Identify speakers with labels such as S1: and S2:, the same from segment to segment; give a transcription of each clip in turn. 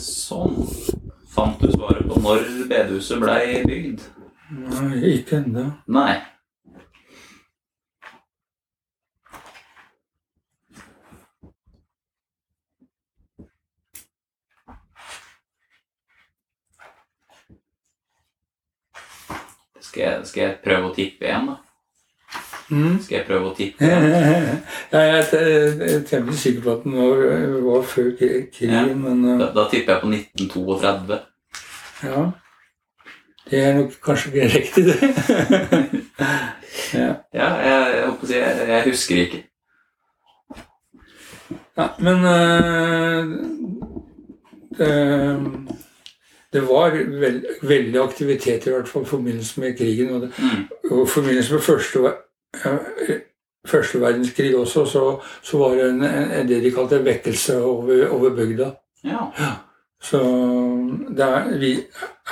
S1: sånn. Fant du svaret på når bedehuset blei bygd?
S2: Nei, ikke ennå.
S1: Nei. Skal jeg, skal jeg prøve å tippe igjen, da?
S2: Mm.
S1: Skal jeg prøve å tippe igjen?
S2: Nei, jeg er- jeg er temmelig sikker på at den var, var før kri-
S1: Ja.
S2: krigen, men eh,
S1: Da, da tipper jeg på 1932.
S2: Ja. Det er nok kanskje ikke riktig, det. ja.
S1: Ja, jeg, jeg, holdt på å si, jeg, jeg husker ikke.
S2: ja, men eh, det, det var vel, veldig aktivitet i hvert fall i forbindelse med krigen. Og, det,
S1: Mm.
S2: og i forbindelse med første, ver- eh, første verdenskrig også, så, så var det en, en, det de kalte vekkelse over, over bygda.
S1: Ja.
S2: Så det er, vi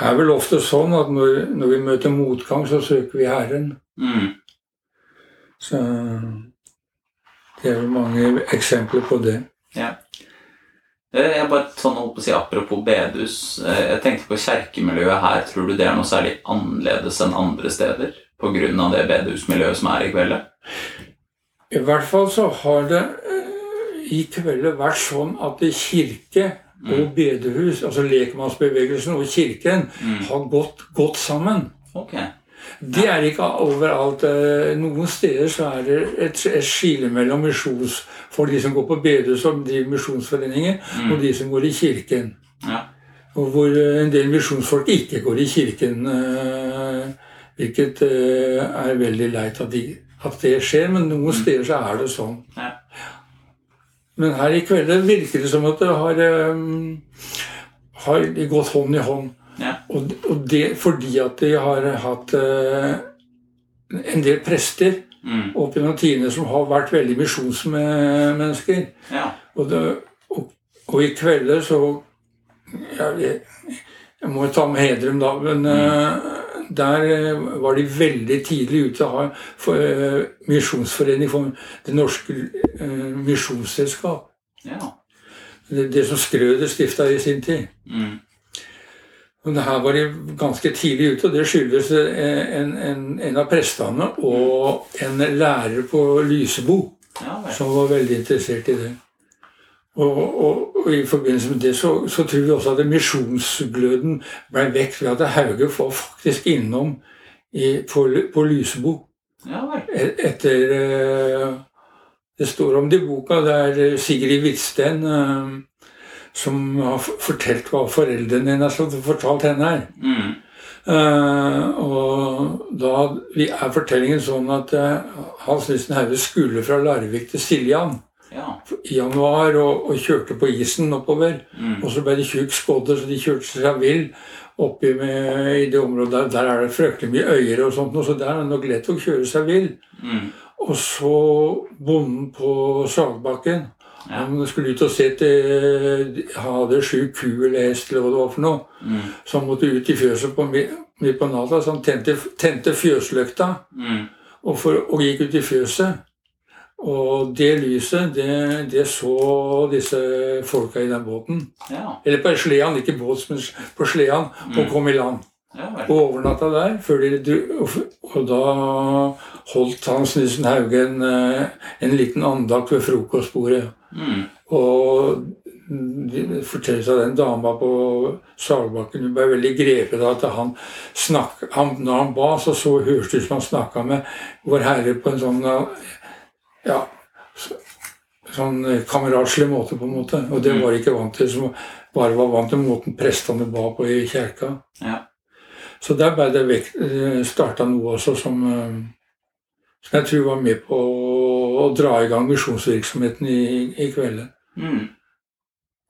S2: er vel ofte sånn at når, når vi møter motgang, så søker vi Herren.
S1: Mm.
S2: Så det er vel mange eksempler på det.
S1: Eh, Jeg bare sånn holdt på å si Apropos bedehus. eh, Jeg tenkte på kjerkemiljøet her. Tror du det er noe særlig annerledes enn andre steder? Pga. det bedehusmiljøet som er i kveld?
S2: I hvert fall så har det eh, i kveld vært sånn at i kirke og bedehus, altså lekmannsbevegelsen og kirken,
S1: Mm.
S2: har gått godt sammen.
S1: Ok.
S2: Det er ikke overalt. eh, Noen steder så er det et, et skille mellom misjons for de som går på bedehus og driver misjonsforeninger,
S1: Mm.
S2: og de som går i kirken.
S1: Ja.
S2: Og hvor eh, en del misjonsfolk ikke går i kirken, eh, hvilket eh, er veldig leit at, de, at det skjer, men noen
S1: Mm.
S2: steder så er det sånn.
S1: Ja.
S2: Men her i kveld virker det som at det har, eh, har de gått hånd i hånd.
S1: Ja.
S2: Og, og det fordi at de har hatt eh, en del prester
S1: Mm.
S2: opp gjennom tidene som har vært veldig misjonsmennesker.
S1: ja.
S2: Og, det, og, og i kvelder så jeg, jeg, jeg må ta med Hedrum, da. Men eh, der eh, var de veldig tidlig ute. Har for, eh, misjonsforening for Det Norske eh, Misjonsselskap.
S1: ja.
S2: Det, det som Skrøder stifta i sin tid.
S1: Mm.
S2: Men her var de ganske tidlig ute, og det skyldes eh, en, en, en av prestene og en lærer på Lysebo
S1: ja vel.
S2: som var veldig interessert i det. Og, og, og i forbindelse med det så, så tror vi også at misjonsgløden ble vekk ved at Hauge var faktisk innom i, på, Lu- på Lysebo
S1: Ja vel.
S2: e- etter eh, Det står om det i boka. Det er eh, Sigrid Hvitsten eh, som har f- fortalt hva foreldrene hennes hadde fortalt henne her.
S1: Mm.
S2: Eh, og da vi er fortellingen sånn at eh, Hans Nissen Hauge skulle fra Larvik til Siljan
S1: Ja.
S2: i januar og, og kjørte på isen oppover.
S1: Mm.
S2: Og så ble det tjukk skodde, så de kjørte seg vill oppi med, i det området der. Der er det fryktelig mye øyer og sånt, og så der er det nok lett å kjøre seg vill.
S1: Mm.
S2: Og så bonden på Sagbakken.
S1: Ja.
S2: Han skulle ut og se til Ha det sju ku eller hest eller hva det var for noe.
S1: Mm.
S2: Så han måtte ut i fjøset på, mi- midt på natta, så han tente, tente fjøsløkta
S1: Mm.
S2: og, for, og gikk ut i fjøset. Og det lyset, det, det så disse folka i den båten.
S1: Ja.
S2: Eller på Slean, ikke båt, men på Slean, og
S1: Mm.
S2: kom i land.
S1: Ja vel.
S2: Og overnatta der. Før de, dro- og, f- og da holdt Hans Nissen Hauge en, eh, en liten andakt ved frokostbordet.
S1: Mm.
S2: Og det fortelles at den dama på Sagbakken hun ble veldig grepet av at han snakk, han, Når han ba, så, så hørtes det ut som han snakka med Vår Herre på en sånn ja, så- sånn kameratslig måte, på en måte. Og det var de ikke vant til. Som bare var vant til måten prestene ba på i kjerka.
S1: Ja.
S2: Så der ble det vekt, starta noe også som, eh, som jeg tror var med på å, å dra i gang misjonsvirksomheten i, i kvelden.
S1: Mm.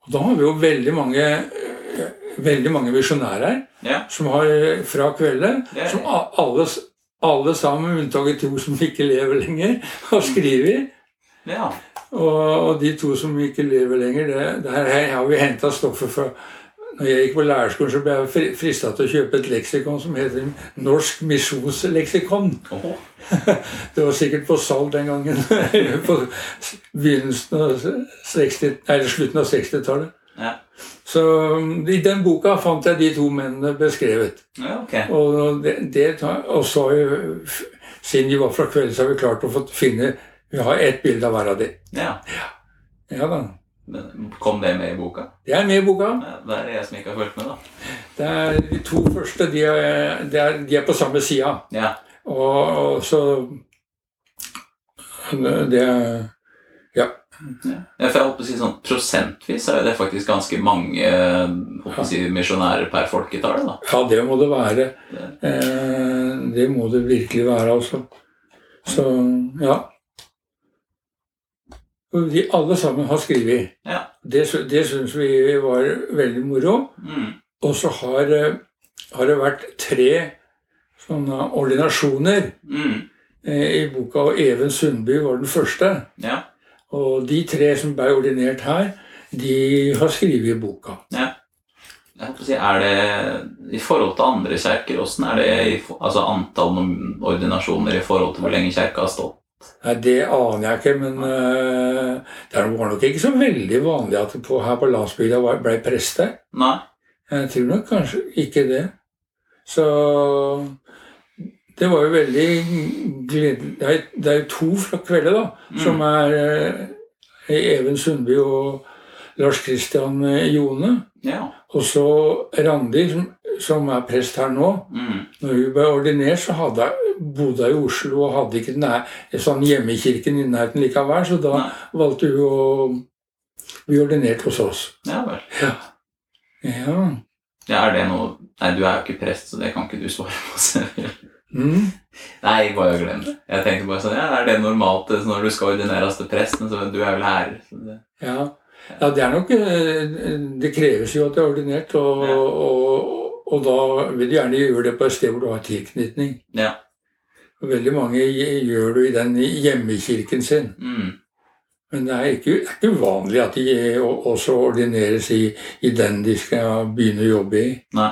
S2: Og da har vi jo veldig mange eh, veldig mange visjonærer
S1: Ja.
S2: som har eh, fra kvelden
S1: Det
S2: som a- alle, s- alle sammen, med unntaket to som ikke lever lenger, har skrevet.
S1: Ja.
S2: Og, og de to som ikke lever lenger, det, det her her har vi henta stoffet fra når jeg gikk på lærerskolen, så ble jeg frista til å kjøpe et leksikon som heter Norsk misjonsleksikon.
S1: Åhå.
S2: Det var sikkert på salg den gangen. på begynnelsen av 60, eller slutten av 60-tallet.
S1: Ja.
S2: Så um, i den boka fant jeg de to mennene beskrevet.
S1: Ja, ok.
S2: Og, det, det, tar- og så har vi, siden de var fra kvelden, så har vi klart å få finne Vi har ett bilde av hver av de.
S1: Ja.
S2: Ja da.
S1: Men Kom det med i boka?
S2: Det er med i boka.
S1: Ja, Det er jeg som ikke har fulgt med, da.
S2: Det er de to første de er, det er, de er på samme sida.
S1: Ja.
S2: Og, og så Det er
S1: Ja, for jeg håper å si sånn Prosentvis er det faktisk ganske mange eh, håper å si, misjonærer per folketall. da.
S2: Ja, det må det være. Eh, det må det virkelig være, altså. Så ja. Og De alle sammen har skrevet.
S1: Ja.
S2: Det, sy- det syns vi var veldig moro.
S1: Mm.
S2: Og så har, eh, har det vært tre sånne ordinasjoner
S1: Mm.
S2: eh, i boka, og Even Sundby var den første.
S1: Ja.
S2: Og de tre som ble ordinert her, de har skrevet i boka.
S1: Jeg håper å si, er det I forhold til andre kjerker, åssen er det i, for- altså antall nom- ordinasjoner i forhold til hvor lenge kjerka har stått?
S2: Nei, Det aner jeg ikke, men eh, det var nok ikke så veldig vanlig at det på, her på landsbygda var- ble prester.
S1: Nei?
S2: Jeg tror nok kanskje ikke det. Så det var jo veldig gledelig Det er- Det er jo to fra kveldet, da,
S1: Mm.
S2: som er eh, Even Sundby og Lars Christian eh, Jone.
S1: Ja.
S2: Og så Randi, som, som er prest her nå.
S1: Mm.
S2: Når hun ble ordinert, så hadde, jeg- bodde hun i Oslo og hadde ikke nær, sånn hjemmekirken i nærheten likevel, så da
S1: Nei.
S2: valgte hun å bli ordinert hos oss.
S1: Ja vel.
S2: Ja.
S1: Ja, er det noe Nei, du er jo ikke prest, så det kan ikke du svare på. Sverre.
S2: Mm.
S1: Nei, bare glem det. Jeg tenkte bare sånn, ja, Er det normalt eh, når du skal ordineres til prest? Men så, du er vel lærer? Så det,
S2: ja. Ja, det er nok eh, Det kreves jo at du er ordinert, og,
S1: Ja.
S2: og, og da vil du gjerne gjøre det på et sted hvor du har tilknytning.
S1: Ja.
S2: Og Veldig mange gjør det i den hjemmekirken sin.
S1: mm.
S2: Men det er ikke, det er ikke uvanlig at de også ordineres i, i den de skal begynne å jobbe i.
S1: Nei.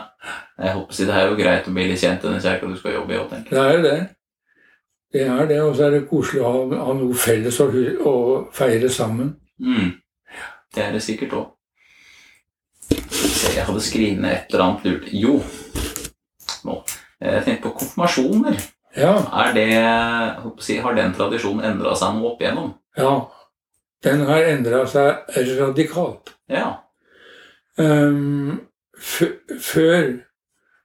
S1: Jeg håper å si, Det er jo greit å bli litt kjent i den kjerka du skal jobbe i òg, tenker jeg.
S2: Det er jo det. Det er det, og så er det koselig å ha, ha noe felles å, hu- å feire sammen.
S1: Mm. Det er det sikkert òg. Jeg hadde skrevet ned et eller annet lurt Jo, nå. Jeg tenkte på konfirmasjoner.
S2: Ja,
S1: Er det, jeg håper å si, Har den tradisjonen endra seg noe opp igjennom?
S2: ja. Den har endra seg radikalt.
S1: Ja.
S2: Ehm, f- før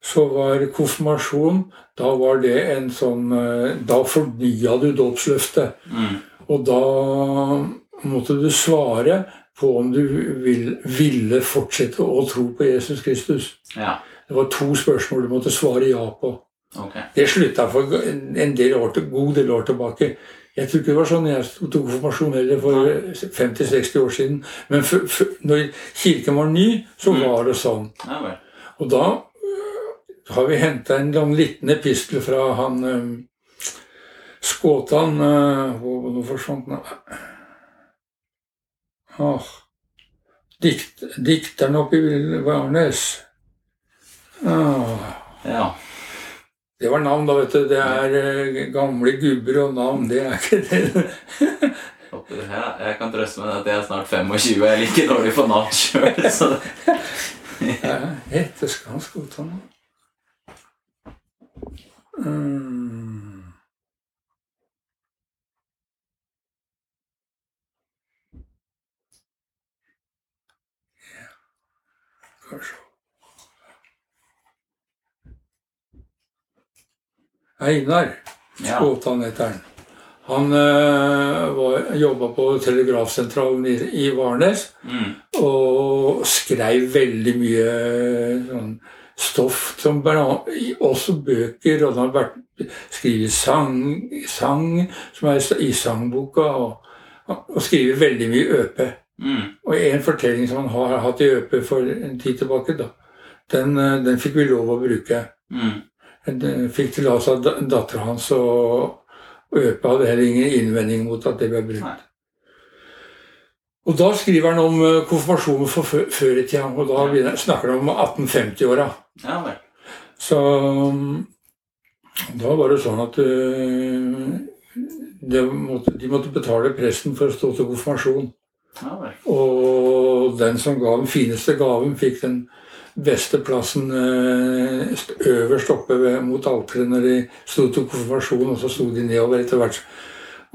S2: så var konfirmasjon Da var det en sånn eh, Da fornya du dåpsløftet.
S1: Mm.
S2: Og da måtte du svare på om du vil, ville fortsette å tro på Jesus Kristus.
S1: Ja.
S2: Det var to spørsmål du måtte svare ja på.
S1: Ok.
S2: Det slutta for en del år til, god del år tilbake. Jeg tror ikke det var sånn jeg tok konfirmasjon heller for 50-60 år siden. Men f f når kirken var ny, så
S1: Mm.
S2: var det sånn.
S1: Ja vel.
S2: Og da øh, har vi henta en sånn liten epistel fra han øh, Skåtan øh, hvor- Nå forsvant han ah. Dikt, Dikteren oppe i Værnes. Ah.
S1: Ja.
S2: Det var navn, da, vet du. Det er eh, gamle gubber og navn. Det er ikke det.
S1: Håper, ja. Jeg kan trøste meg med at jeg er snart 25 og jeg er like dårlig på navn sjøl, så
S2: Ja, Hette skal han skota nå. Mm. Ja, Kanskje. Einar.
S1: ja.
S2: Skåtan heter han. Han uh, jobba på telegrafsentralen i, i Varnes
S1: Mm.
S2: og skrev veldig mye eh, sånn stoff som bl.a. i- også bøker. Og han har vært, skrevet sang, sang, som er i s- i sangboka, og, og skriver veldig mye ØP.
S1: Mm.
S2: Og en fortelling som han har hatt i ØP for en tid tilbake, da, den, eh, den fikk vi lov å bruke.
S1: Mm.
S2: Det fikk tillatelse av dattera hans, og Øpe hadde heller ingen innvending mot at det ble
S1: Nei.
S2: brukt. Og da skriver han om eh, konfirmasjonen for fø- før i tida, og da
S1: Ja.
S2: begynner- snakker han om 1850-åra.
S1: Ja vel.
S2: Så mm, da var det sånn at eh, det måtte, de måtte betale presten for å stå til konfirmasjon.
S1: Ja, vel.
S2: Og den som ga den fineste gaven, fikk den beste plassen eh, st- øverst oppe ved, mot alteret når de sto til konfirmasjon, og så sto de nedover etter hvert.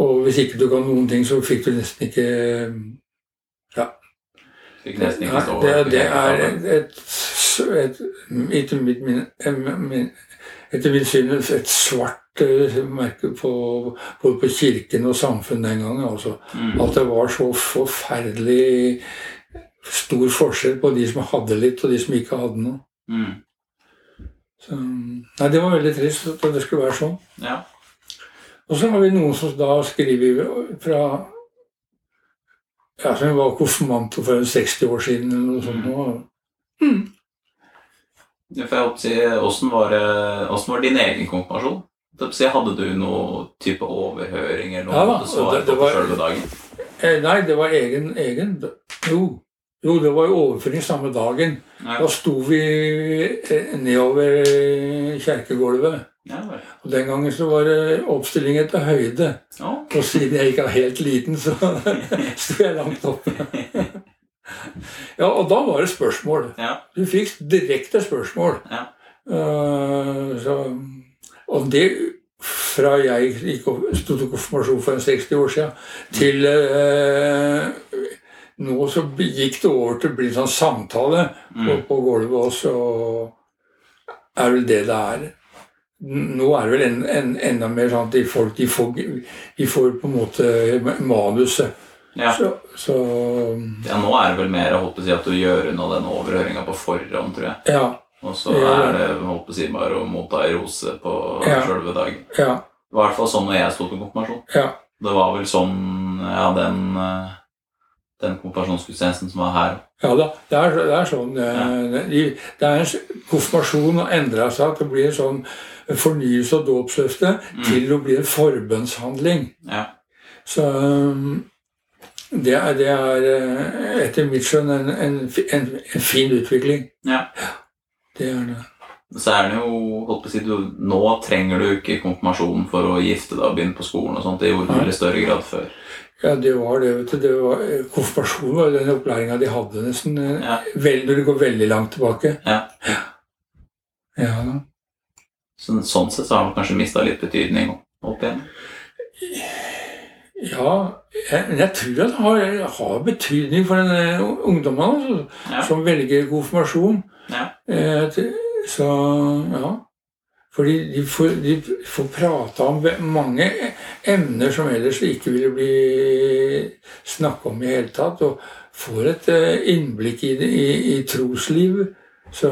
S2: Og hvis ikke du ga noen ting, så fikk du nesten ikke
S1: Fikk nesten ikke
S2: Nei,
S1: stå
S2: det, det er et, et, et, etter, mitt, min, em- min, etter mitt syn et svart eh, merke på både på kirken og samfunnet den gangen. altså.
S1: Mm.
S2: At det var så forferdelig stor forskjell på de som hadde litt, og de som ikke hadde noe.
S1: Mm.
S2: Så, nei, det var veldig trist at det skulle være sånn.
S1: Ja.
S2: Og så har vi noen som da skriver fra ja, Som var konfirmanter for 60 år siden eller noe sånt. nå.
S1: Ja, For jeg holdt på å si, hvordan var, det- hvordan var din egen konfirmasjon? Jeg holdt på å si, Hadde du noe type overhøring eller noe
S2: Ja da,
S1: du måtte svare
S2: det- det
S1: på
S2: var-
S1: på selve dagen?
S2: Eh, nei, det var egen, egen Jo. Jo, det var jo overføring samme dagen.
S1: Nei,
S2: Da sto vi eh, nedover eh, kjerkegulvet.
S1: ja, vel.
S2: Og den gangen så var det oppstilling etter høyde.
S1: Ja.
S2: Og siden jeg ikke er helt liten, så sto jeg langt oppe. Ja, og da var det spørsmål.
S1: Ja.
S2: Du fikk direkte spørsmål.
S1: Ja.
S2: Eh, så, og det fra jeg gikk opp, stod til konfirmasjon for en 60 år siden, til eh, nå så gikk det over til å bli en sånn samtale på,
S1: Mm.
S2: på gulvet også. Og er vel det det er. N- Nå er det vel en, en, enda mer sånn at de folk de får, de får på en måte manuset.
S1: Ja.
S2: Så, så
S1: ja, nå er det vel mer jeg holdt på å si, at du gjør unna den overhøringa på forhånd, tror jeg.
S2: ja.
S1: Og så
S2: Ja.
S1: er det jeg holdt på å si, bare å motta ei rose på
S2: Ja.
S1: selve dagen.
S2: ja.
S1: Det var i hvert fall sånn når jeg sto på konfirmasjon.
S2: Ja.
S1: Det var vel sånn ja, den, eh, den konfirmasjonsgudstjenesten som var her.
S2: Ja da, det er, det er sånn. eh, de- Det er en s- konfirmasjon å endre seg at det blir en sånn fornyelse av dåpsløftet
S1: Mm.
S2: til å bli en forbønnshandling.
S1: Ja.
S2: Så um, det er, det er eh, etter mitt skjønn en, en, fi- en, en fin utvikling.
S1: Ja.
S2: Det er det.
S1: Så er det jo holdt på å si, du, Nå trenger du ikke konfirmasjon for å gifte deg og begynne på skolen. og sånt, Det gjorde du i større grad før.
S2: Ja, det var det. vet du. det var, konfirmasjon var jo den opplæringa de hadde nesten. eh,
S1: Ja.
S2: Vel, når du går veldig langt tilbake.
S1: Ja.
S2: Ja da.
S1: Så, sånn sett så har man kanskje mista litt betydning opp igjen.
S2: Ja, jeg, men jeg tror det har, har betydning for den eh, ungdommen altså,
S1: Ja.
S2: som velger konfirmasjon.
S1: Ja.
S2: Eh, til- så ja. Fordi de får, de får prata om ve- mange emner som ellers ikke ville bli snakka om i hele tatt, og får et eh, innblikk i, det- i, i troslivet. Så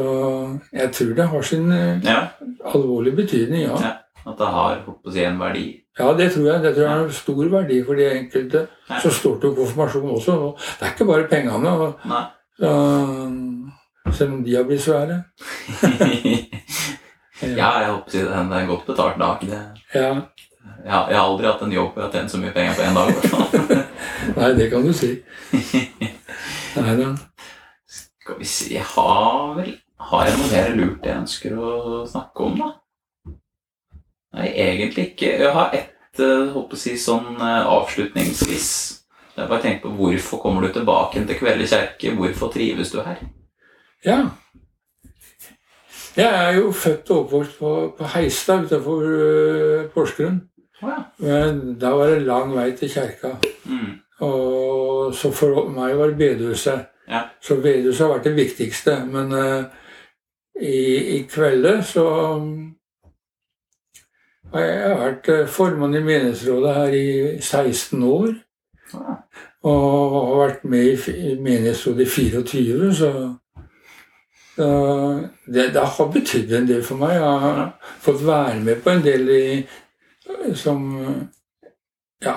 S2: jeg tror det har sin eh,
S1: Ja,
S2: alvorlige betydning, ja.
S1: Ja. At det har holdt på å si, en verdi.
S2: Ja, det tror jeg. Det tror jeg har stor verdi for de enkelte
S1: Ja.
S2: som står til konfirmasjon også. Og Det er ikke bare pengene, og,
S1: Nei.
S2: øh, selv om de har blitt svære.
S1: ja, jeg holdt på å si det det er en godt betalt dag. Det,
S2: Ja.
S1: jeg, har- jeg har aldri hatt en jobb hvor jeg har tjent så mye penger på én dag. i hvert fall.
S2: Nei, det kan du si. Nei da.
S1: Skal vi si Jeg har vel Har jeg noe mer lurt jeg ønsker å snakke om, da? Nei, egentlig ikke. Jeg har ett eh, håper å si, sånn eh, avslutningsvis. Jeg bare tenker på Hvorfor kommer du tilbake til Kvelde kjerke? Hvorfor trives du her?
S2: Ja. Jeg er jo født og oppvokst på, på Heistad utenfor øh, Porsgrunn.
S1: Å ja.
S2: Men da var det lang vei til kjerka.
S1: Mm.
S2: Og så for meg var det bedehuset.
S1: Ja.
S2: Så bedehuset har vært det viktigste. Men eh, i, i kvelde så mm, har jeg jeg har vært eh, formann i menighetsrådet her i 16 år.
S1: Å ja.
S2: Og har vært med i, f- i menighetsrådet i 24, så eh, det, det har betydd en del for meg. Jeg har fått være med på en del i, som Ja.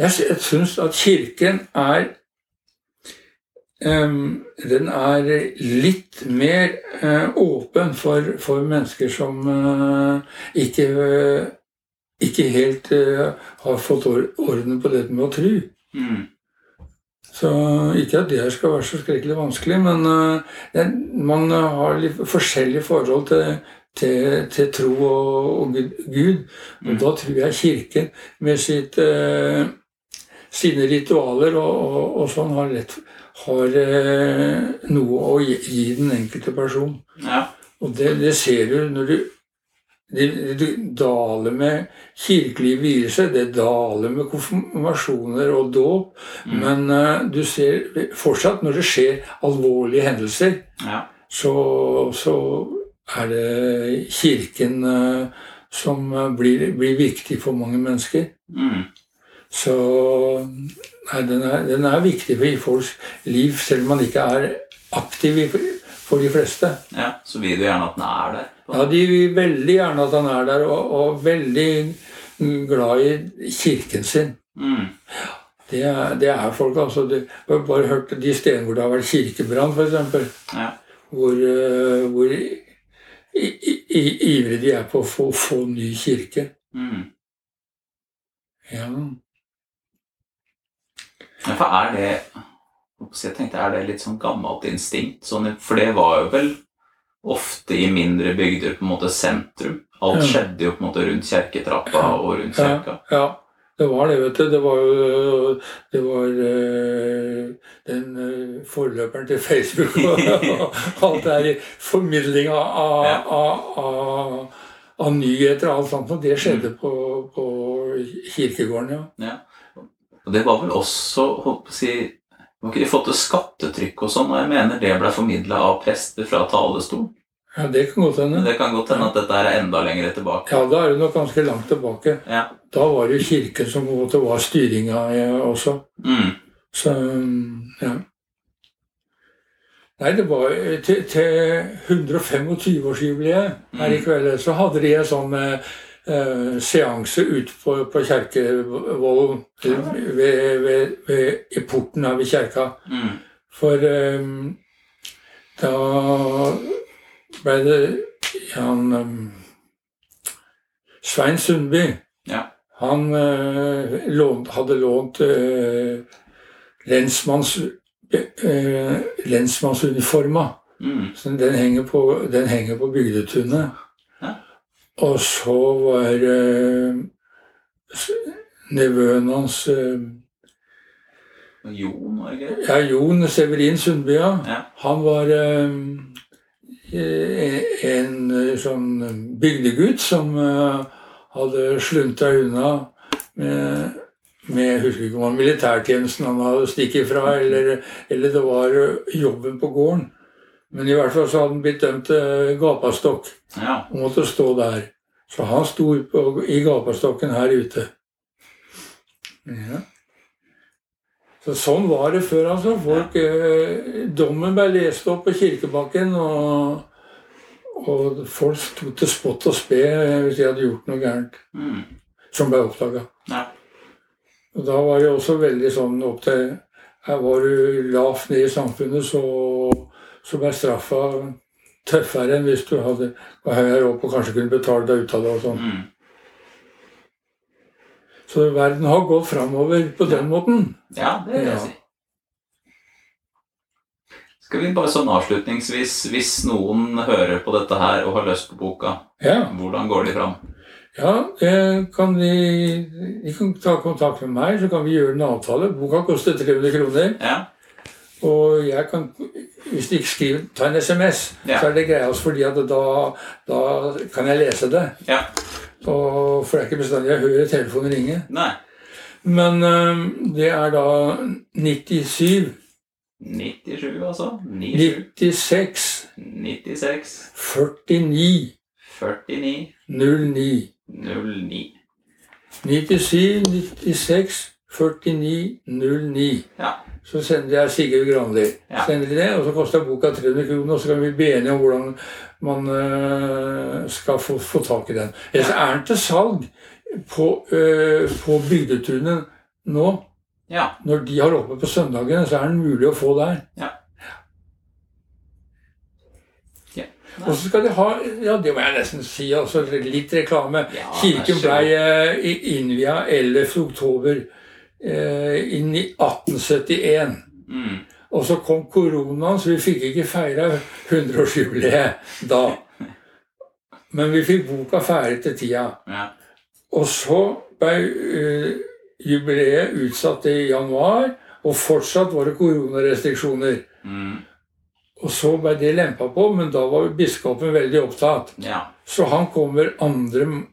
S2: Jeg, sy- jeg syns at Kirken er em, Den er litt mer eh, åpen for, for mennesker som eh, ikke eh, ikke helt eh, har fått or- orden på dette med å tro.
S1: Mm.
S2: Så ikke at det her skal være så skrekkelig vanskelig, men eh, det- man eh, har litt forskjellige forhold til, til, til tro og, og Gud. Og
S1: Mm.
S2: da tror jeg Kirken med sitt eh, sine ritualer og, og, og sånn har, lett, har eh, noe å gi, gi den enkelte person.
S1: Ja.
S2: Og det, det ser du når du det, det daler med kirkelige vielser, det daler med konfirmasjoner og dåp.
S1: Mm.
S2: Men eh, du ser fortsatt, når det skjer alvorlige hendelser,
S1: ja.
S2: så, så er det kirken eh, som eh, blir, blir viktig for mange mennesker.
S1: Mm.
S2: Så nei, den, er, den er viktig for- i folks liv, selv om man ikke er aktiv i, for de fleste.
S1: ja. Så vil du gjerne at den er der.
S2: Ja, De vil veldig gjerne at han er der, og, og veldig mm, glad i kirken sin.
S1: Mm.
S2: Det er, det er folk, altså. Du har bare hørt de stedene hvor det har vært kirkebrann, f.eks.
S1: Ja.
S2: Hvor, eh, hvor i- i- i- ivrige de er på å få, få ny kirke.
S1: Mm.
S2: Ja.
S1: Ja, for er det så Jeg tenkte, er det litt sånn gammelt instinkt? Sånn, for det var jo vel ofte i mindre bygder på en måte sentrum. Alt
S2: Ja.
S1: skjedde jo på en måte rundt kjerketrappa og rundt
S2: Ja.
S1: kirka.
S2: ja. Det var det, vet du. Det var jo det var, eh, den eh, forløperen til Facebook og alt det her. Formidling av, av,
S1: Ja.
S2: av, av, av nyheter og alt sånt. Og det skjedde på, på kirkegården, ja.
S1: Og det var vel også holdt på å si, Var ikke de fått til skattetrykk og sånn? Og jeg mener det ble formidla av prester fra talerstol.
S2: Ja, Det kan godt
S1: Men
S2: hende.
S1: det kan godt hende at dette her er enda lenger tilbake.
S2: Ja, da er du nok ganske langt tilbake.
S1: Ja.
S2: Da var det jo kirken som på en måte var styringa eh, også.
S1: Mm.
S2: Så ja. Nei, det var eh, til, til 125-årsjubileet her i
S1: Mm.
S2: kveld, så hadde de en sånn eh, eh, seanse ute på, på Kjerkevollen,
S1: Ja.
S2: ved, ved, ved, i porten her ved kjerka.
S1: Mm.
S2: For ehm, da ble det han ehm, Svein Sundby
S1: Ja.
S2: Han eh, lånt, hadde lånt eh, lensmanns, eh, lensmannsuniforma.
S1: Mm.
S2: Så den henger på, den henger på Bygdetunet.
S1: Ja.
S2: Og så var eh, s- nevøen hans eh,
S1: Og Jon og greier.
S2: Ja, Jon Severin Sundby, ja.
S1: Ja.
S2: Han var ehm, eh, en eh, sånn bygdegutt som eh, hadde slunta unna med, med Jeg husker ikke om det var militærtjenesten han hadde stikket fra, eller, eller det var eh, jobben på gården. Men i hvert fall så hadde han blitt dømt til eh, gapastokk
S1: Ja.
S2: og måtte stå der. Så han sto på, i gapastokken her ute. Ja. Så sånn var det før, altså. Folk, eh, dommen ble lest opp på kirkebakken, og, og folk sto til spott og spe eh, hvis de hadde gjort noe gærent
S1: Mm.
S2: som ble oppdaga.
S1: Ja.
S2: Og da var det også veldig sånn opp til Her var du lavt ned i samfunnet, så, så ble straffa tøffere enn hvis du hadde var høyere opp og kanskje kunne betale deg ut av det og sånn.
S1: Mm.
S2: Så verden har gått framover på den måten.
S1: Ja, det vil jeg
S2: Ja.
S1: si. Skal vi bare sånn avslutningsvis, hvis noen hører på dette her og har lyst på boka,
S2: Ja.
S1: hvordan går de fram?
S2: Ja, det kan de, de kan ta kontakt med meg, så kan vi gjøre en avtale. Boka koster 300 kroner.
S1: Ja.
S2: Og jeg kan, hvis de ikke skriver, ta en SMS.
S1: Ja.
S2: Så er det greiest, fordi at da, da kan jeg lese det.
S1: Ja.
S2: Og, for det er ikke bestandig jeg hører telefonen ringe.
S1: Nei.
S2: Men øhm, det er da 97,
S1: 97, altså. 97,
S2: 96,
S1: 96,
S2: 49,
S1: 49,
S2: 09.
S1: 09.
S2: 97 96 49 09.
S1: Ja.
S2: Så sender jeg Sigurd Granli.
S1: Ja.
S2: Sender de det, og så koster boka 300 kroner, og så kan vi bli enige om hvordan man øh, skal få, få tak i den. Ellers er den til salg på, øh, på Bygdetunet nå.
S1: Ja.
S2: Når de har oppe på søndagene, så er den mulig å få der.
S1: Ja. Ja.
S2: Og så skal de ha Ja, det må jeg nesten si, altså litt reklame.
S1: Ja,
S2: Kirken
S1: vær så
S2: ble
S1: god.
S2: eh, i- innvia 11. oktober eh, i ni- 1871.
S1: Mm.
S2: Og så kom koronaen, så vi fikk ikke feira 100-årsjubileet da. Men vi fikk boka ferdig til tida.
S1: Ja.
S2: Og så ble eh, jubileet utsatt i januar, og fortsatt var det koronarestriksjoner.
S1: Mm.
S2: Og så ble det lempa på, men da var biskopen veldig opptatt.
S1: Ja.
S2: Så han kommer 2.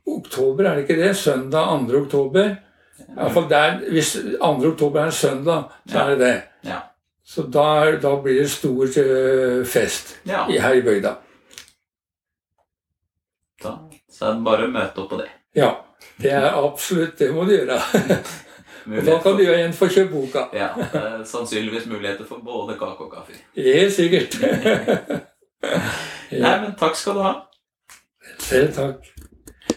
S2: oktober, er det ikke det? Søndag 2. oktober. I hvert fall der, Hvis 2. oktober er en søndag, så
S1: Ja.
S2: er det det.
S1: Ja.
S2: Så da, er- da blir det stor eh, fest
S1: ja.
S2: i- her i bygda.
S1: Da. Så er det bare å møte opp på det.
S2: Ja. Det er absolutt Det må du gjøre. Og da kan du igjen få kjøpt boka.
S1: Ja, det er sannsynligvis muligheter for både kake og kaffe.
S2: Helt sikkert.
S1: Nei,
S2: ja,
S1: men takk skal du ha.
S2: selv takk.